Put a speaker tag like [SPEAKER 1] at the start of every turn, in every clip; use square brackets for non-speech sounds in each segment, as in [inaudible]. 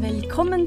[SPEAKER 1] Velkommen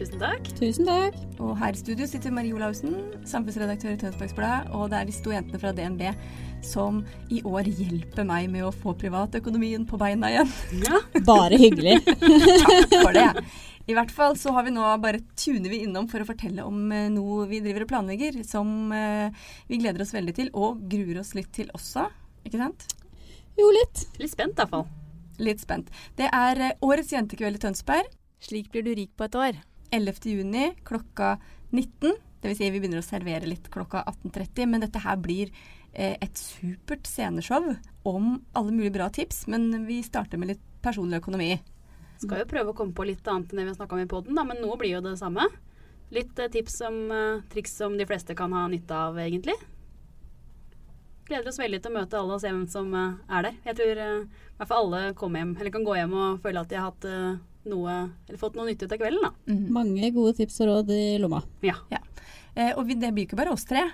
[SPEAKER 2] Tusen takk.
[SPEAKER 1] Og her i studio sitter Marie Olaussen, samfunnsredaktør i Tønsbergs Blad, og det er disse to jentene fra DNB som i år hjelper meg med å få privatøkonomien på beina igjen.
[SPEAKER 3] Bare hyggelig.
[SPEAKER 1] [laughs] for det. I hvert fall så har vi nå bare tuner vi innom for å fortelle om eh, noe vi driver og planlegger, som eh, vi gleder oss veldig til, og gruer oss litt til også. Ikke sant?
[SPEAKER 3] Jo, litt.
[SPEAKER 2] Litt spent, i hvert fall.
[SPEAKER 1] Litt spent. Det er eh, årets jentekveld i Tønsberg.
[SPEAKER 2] Slik blir du rik på et år.
[SPEAKER 1] 11. juni klokka 19. Det vil si vi begynner å servere litt klokka 18.30, men dette her blir eh, et supert sceneshow om alle mulige bra tips, men vi starter med litt personlig økonomi.
[SPEAKER 2] Skal jo prøve å komme på litt annet enn det vi har snakka om i poden, men nå blir jo det samme. Litt eh, tips om eh, triks som de fleste kan ha nytte av, egentlig. Gleder oss veldig til å møte alle og se hvem som eh, er der. Jeg tror eh, i hvert fall alle kommer hjem, eller kan gå hjem og føle at de har hatt eh, noe, eller fått noe nytte ut av kvelden,
[SPEAKER 1] Mm.
[SPEAKER 2] da.
[SPEAKER 3] Mange gode tips og råd i lomma.
[SPEAKER 2] Ja.
[SPEAKER 1] Ja. Eh, og vi, det blir ikke bare oss tre.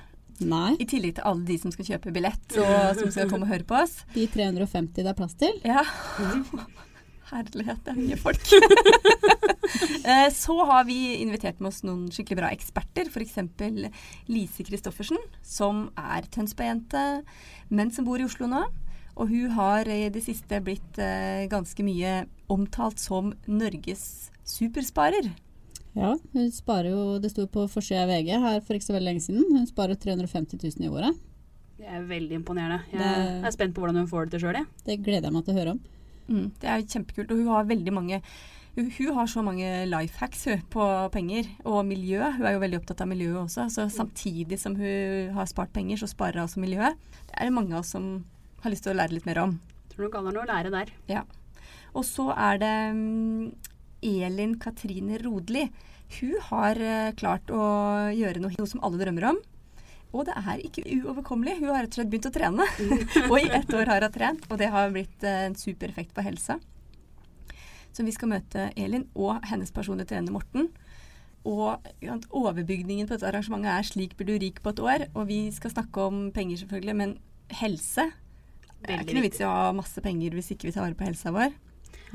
[SPEAKER 3] Nei,
[SPEAKER 1] I tillegg til alle de som skal kjøpe billett og som skal komme og høre på oss.
[SPEAKER 3] de 350 det er plass til.
[SPEAKER 1] Ja. [laughs] Herlighet, det er mye folk. [laughs] Eh, Så har vi invitert med oss noen skikkelig bra eksperter. F.eks. Lise Christoffersen, som er Tønsberg-jente, men som bor i Oslo nå. Og hun har i det siste blitt eh, ganske mye omtalt som Norges supersparer.
[SPEAKER 3] Ja, hun sparer jo, Det sto på forsida av VG her for ikke så veldig lenge siden. Hun sparer 350 000 i året.
[SPEAKER 2] Det er veldig imponerende. Jeg
[SPEAKER 3] Det-
[SPEAKER 2] er spent på hvordan hun får det til sjøl, jeg.
[SPEAKER 3] Det gleder jeg meg til å høre om.
[SPEAKER 1] Mm, det er jo kjempekult. Og hun har veldig mange hun, hun har så mange life hacks hun, på penger og miljø. Hun er jo veldig opptatt av miljøet også. Så samtidig som hun har spart penger, så sparer hun også miljøet. Det er det mange av oss som har lyst til å lære litt mer om.
[SPEAKER 2] Tror nok alle har noe å lære der.
[SPEAKER 1] Ja. Og så er det mm, Elin Katrine Rodli. Hun har eh, klart å gjøre noe, noe som alle drømmer om. Og det er ikke uoverkommelig. Hun har rett og slett begynt å trene. og i ett år har hun trent, og det har blitt eh, en super effekt på helsa. Så vi skal møte Elin og hennes personlige trener Morten. Og ja, at overbygningen på dette arrangementet er 'Slik blir du rik på et år'. Og vi skal snakke om penger, selvfølgelig, men helse det er
[SPEAKER 2] Veldig
[SPEAKER 1] ikke noe vits i å ha masse penger hvis ikke vi tar vare på helsa vår.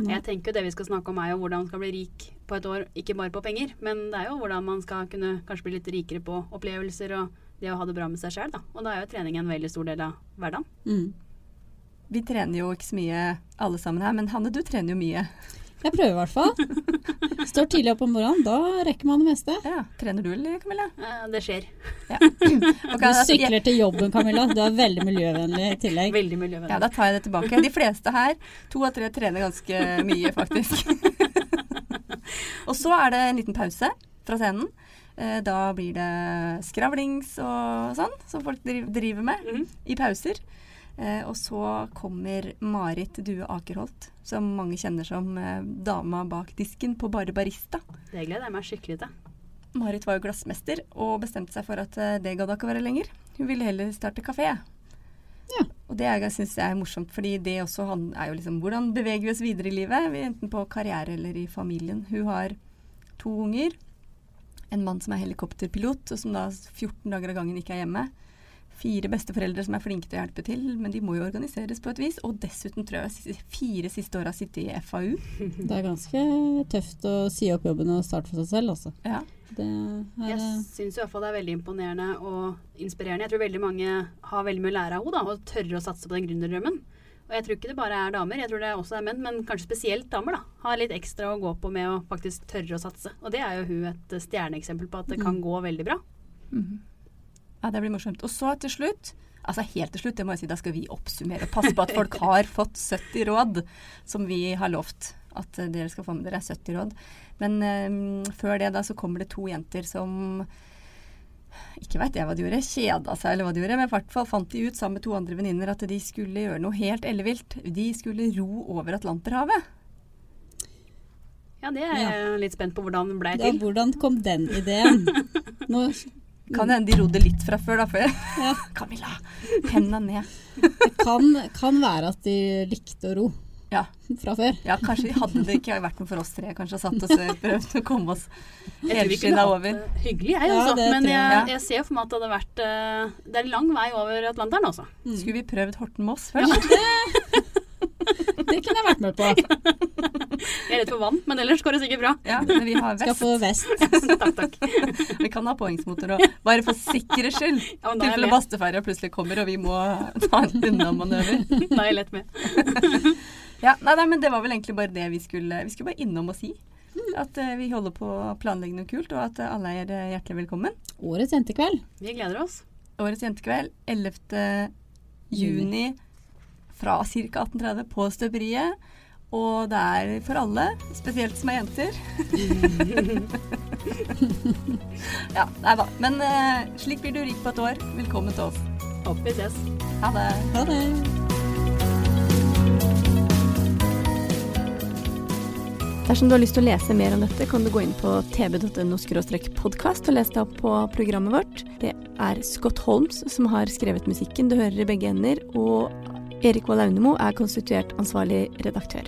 [SPEAKER 2] Jeg tenker jo det vi skal snakke om er jo hvordan man skal bli rik på et år, ikke bare på penger, men det er jo hvordan man skal kunne kanskje bli litt rikere på opplevelser og det å ha det bra med seg sjøl, da. Og da er jo trening en veldig stor del av hverdagen.
[SPEAKER 3] Mm.
[SPEAKER 1] Vi trener jo ikke så mye alle sammen her, men Hanne, du trener jo mye.
[SPEAKER 3] Jeg prøver i hvert fall. Står tidlig opp om morgenen, da rekker man det meste.
[SPEAKER 1] Ja, Trener du, eller Camilla?
[SPEAKER 2] Eh, Det skjer.
[SPEAKER 1] Ja. altså,
[SPEAKER 3] Du sykler til jobben, Camilla. Du er veldig miljøvennlig i tillegg.
[SPEAKER 2] Veldig
[SPEAKER 1] Ja,
[SPEAKER 2] miljøvennlig.
[SPEAKER 1] da tar jeg det tilbake. De fleste her, to av tre, trener ganske mye, faktisk. [laughs] og så er det en liten pause fra scenen. Eh, Da blir det skravlings og sånn, som folk driv- driver med i pauser. Eh, Og så kommer Marit Due Akerholt, som mange kjenner som eh, dama bak disken på Bare Barista.
[SPEAKER 2] Det gleder jeg meg skikkelig til.
[SPEAKER 1] Marit var jo glassmester og bestemte seg for at eh, det gadd hun ikke være lenger. Hun ville heller starte kafé.
[SPEAKER 3] Ja.
[SPEAKER 1] Og det syns jeg er morsomt, fordi det også han- er jo liksom hvordan beveger vi oss videre i livet? Vi er Enten på karriere eller i familien. Hun har to unger. En mann som er helikopterpilot, og som da 14 dager av gangen ikke er hjemme. Fire besteforeldre som er flinke til å hjelpe til, men de må jo organiseres på et vis. Og dessuten tror jeg siste- fire siste åra sitte i FAU.
[SPEAKER 3] Det er ganske tøft å si opp jobben og starte for seg selv, altså.
[SPEAKER 1] Ja.
[SPEAKER 3] Det er, eh,
[SPEAKER 2] Jeg syns i hvert fall det er veldig imponerende og inspirerende. Jeg tror veldig mange har veldig mye å lære av henne, da, og tørre å satse på den gründerdrømmen. Og jeg tror ikke det bare er damer, jeg tror det også er menn, men kanskje spesielt damer, da. Har litt ekstra å gå på med å faktisk tørre å satse. Og det er jo hun et stjerneeksempel på at det kan gå veldig bra.
[SPEAKER 1] Ja, det blir morsomt. Og så til slutt Altså helt til slutt, det må jeg si, da skal vi oppsummere. Passe på at folk har fått 70 råd, som vi har lovt. at eh, dere skal få med dere 70 råd. Men eh, før det da så kommer det to jenter som ikke veit jeg hva de gjorde, kjeda seg eller hva de gjorde, men i hvert fall fant de ut sammen med to andre venninner at de skulle gjøre noe helt ellevilt. De skulle ro over Atlanterhavet.
[SPEAKER 2] Ja, det er jeg litt spent på hvordan den blei
[SPEAKER 3] Ja,
[SPEAKER 2] til.
[SPEAKER 3] hvordan kom den ideen? Nå,
[SPEAKER 1] Kan hende de rodde litt fra før, da. For
[SPEAKER 3] Ja.
[SPEAKER 1] [laughs] Camilla, henda ned.
[SPEAKER 3] det kan, kan være at de likte å ro
[SPEAKER 1] Ja.
[SPEAKER 3] fra før.
[SPEAKER 1] ja, kanskje hadde det ikke vært noe for oss tre. Kanskje satt oss og prøvd å komme oss
[SPEAKER 2] Jeg tror vi kunne
[SPEAKER 1] helskinna
[SPEAKER 2] hatt
[SPEAKER 1] over.
[SPEAKER 2] det Hyggelig, jeg
[SPEAKER 3] Ja,
[SPEAKER 2] også.
[SPEAKER 3] det
[SPEAKER 2] men
[SPEAKER 3] tror
[SPEAKER 1] Ja.
[SPEAKER 2] jeg,
[SPEAKER 3] jeg.
[SPEAKER 2] jeg ser for meg at det hadde vært eh, Det er en lang vei over Atlanteren, altså.
[SPEAKER 1] Skulle vi prøvd Horten Moss først?
[SPEAKER 2] [laughs]
[SPEAKER 3] Det kunne jeg vært med på.
[SPEAKER 2] Jeg er redd for vann, men ellers går det sikkert bra. [laughs]
[SPEAKER 1] Ja, men vi har
[SPEAKER 3] Skal
[SPEAKER 1] vest.
[SPEAKER 3] få vest.
[SPEAKER 2] takk, takk.
[SPEAKER 1] Vi kan ha påhengsmotor òg. Bare for sikkerhets skyld. I
[SPEAKER 2] Ja, men da er jeg
[SPEAKER 1] tilfelle
[SPEAKER 2] med.
[SPEAKER 1] basteferja plutselig kommer og vi må ta en unnamanøver.
[SPEAKER 2] Da er jeg lett med.
[SPEAKER 1] Ja, nei, nei, men det var vel egentlig bare det vi skulle Vi skulle bare innom og si.
[SPEAKER 2] Mm.
[SPEAKER 1] At eh, vi holder på å planlegge noe kult, og at eh, alle er eh, hjertelig velkommen.
[SPEAKER 3] Årets jentekveld.
[SPEAKER 2] Vi gleder oss.
[SPEAKER 1] Årets jentekveld 11. juni fra ca. 18.30 på Støperiet. Og det er for alle, spesielt som er
[SPEAKER 4] [laughs]
[SPEAKER 1] jenter. ja, nei da. Men eh, slik blir du rik på et år. Velkommen til oss.
[SPEAKER 2] Håper vi ses.
[SPEAKER 1] Ha det.
[SPEAKER 3] Ha det.
[SPEAKER 4] Dersom du har lyst til å lese mer om dette, kan du gå inn på tb.no-podkast og lese deg opp på programmet vårt. Det er Scott Holmes som har skrevet musikken du hører i begge ender, og Erik Wahl Aunemo er konstituert ansvarlig redaktør.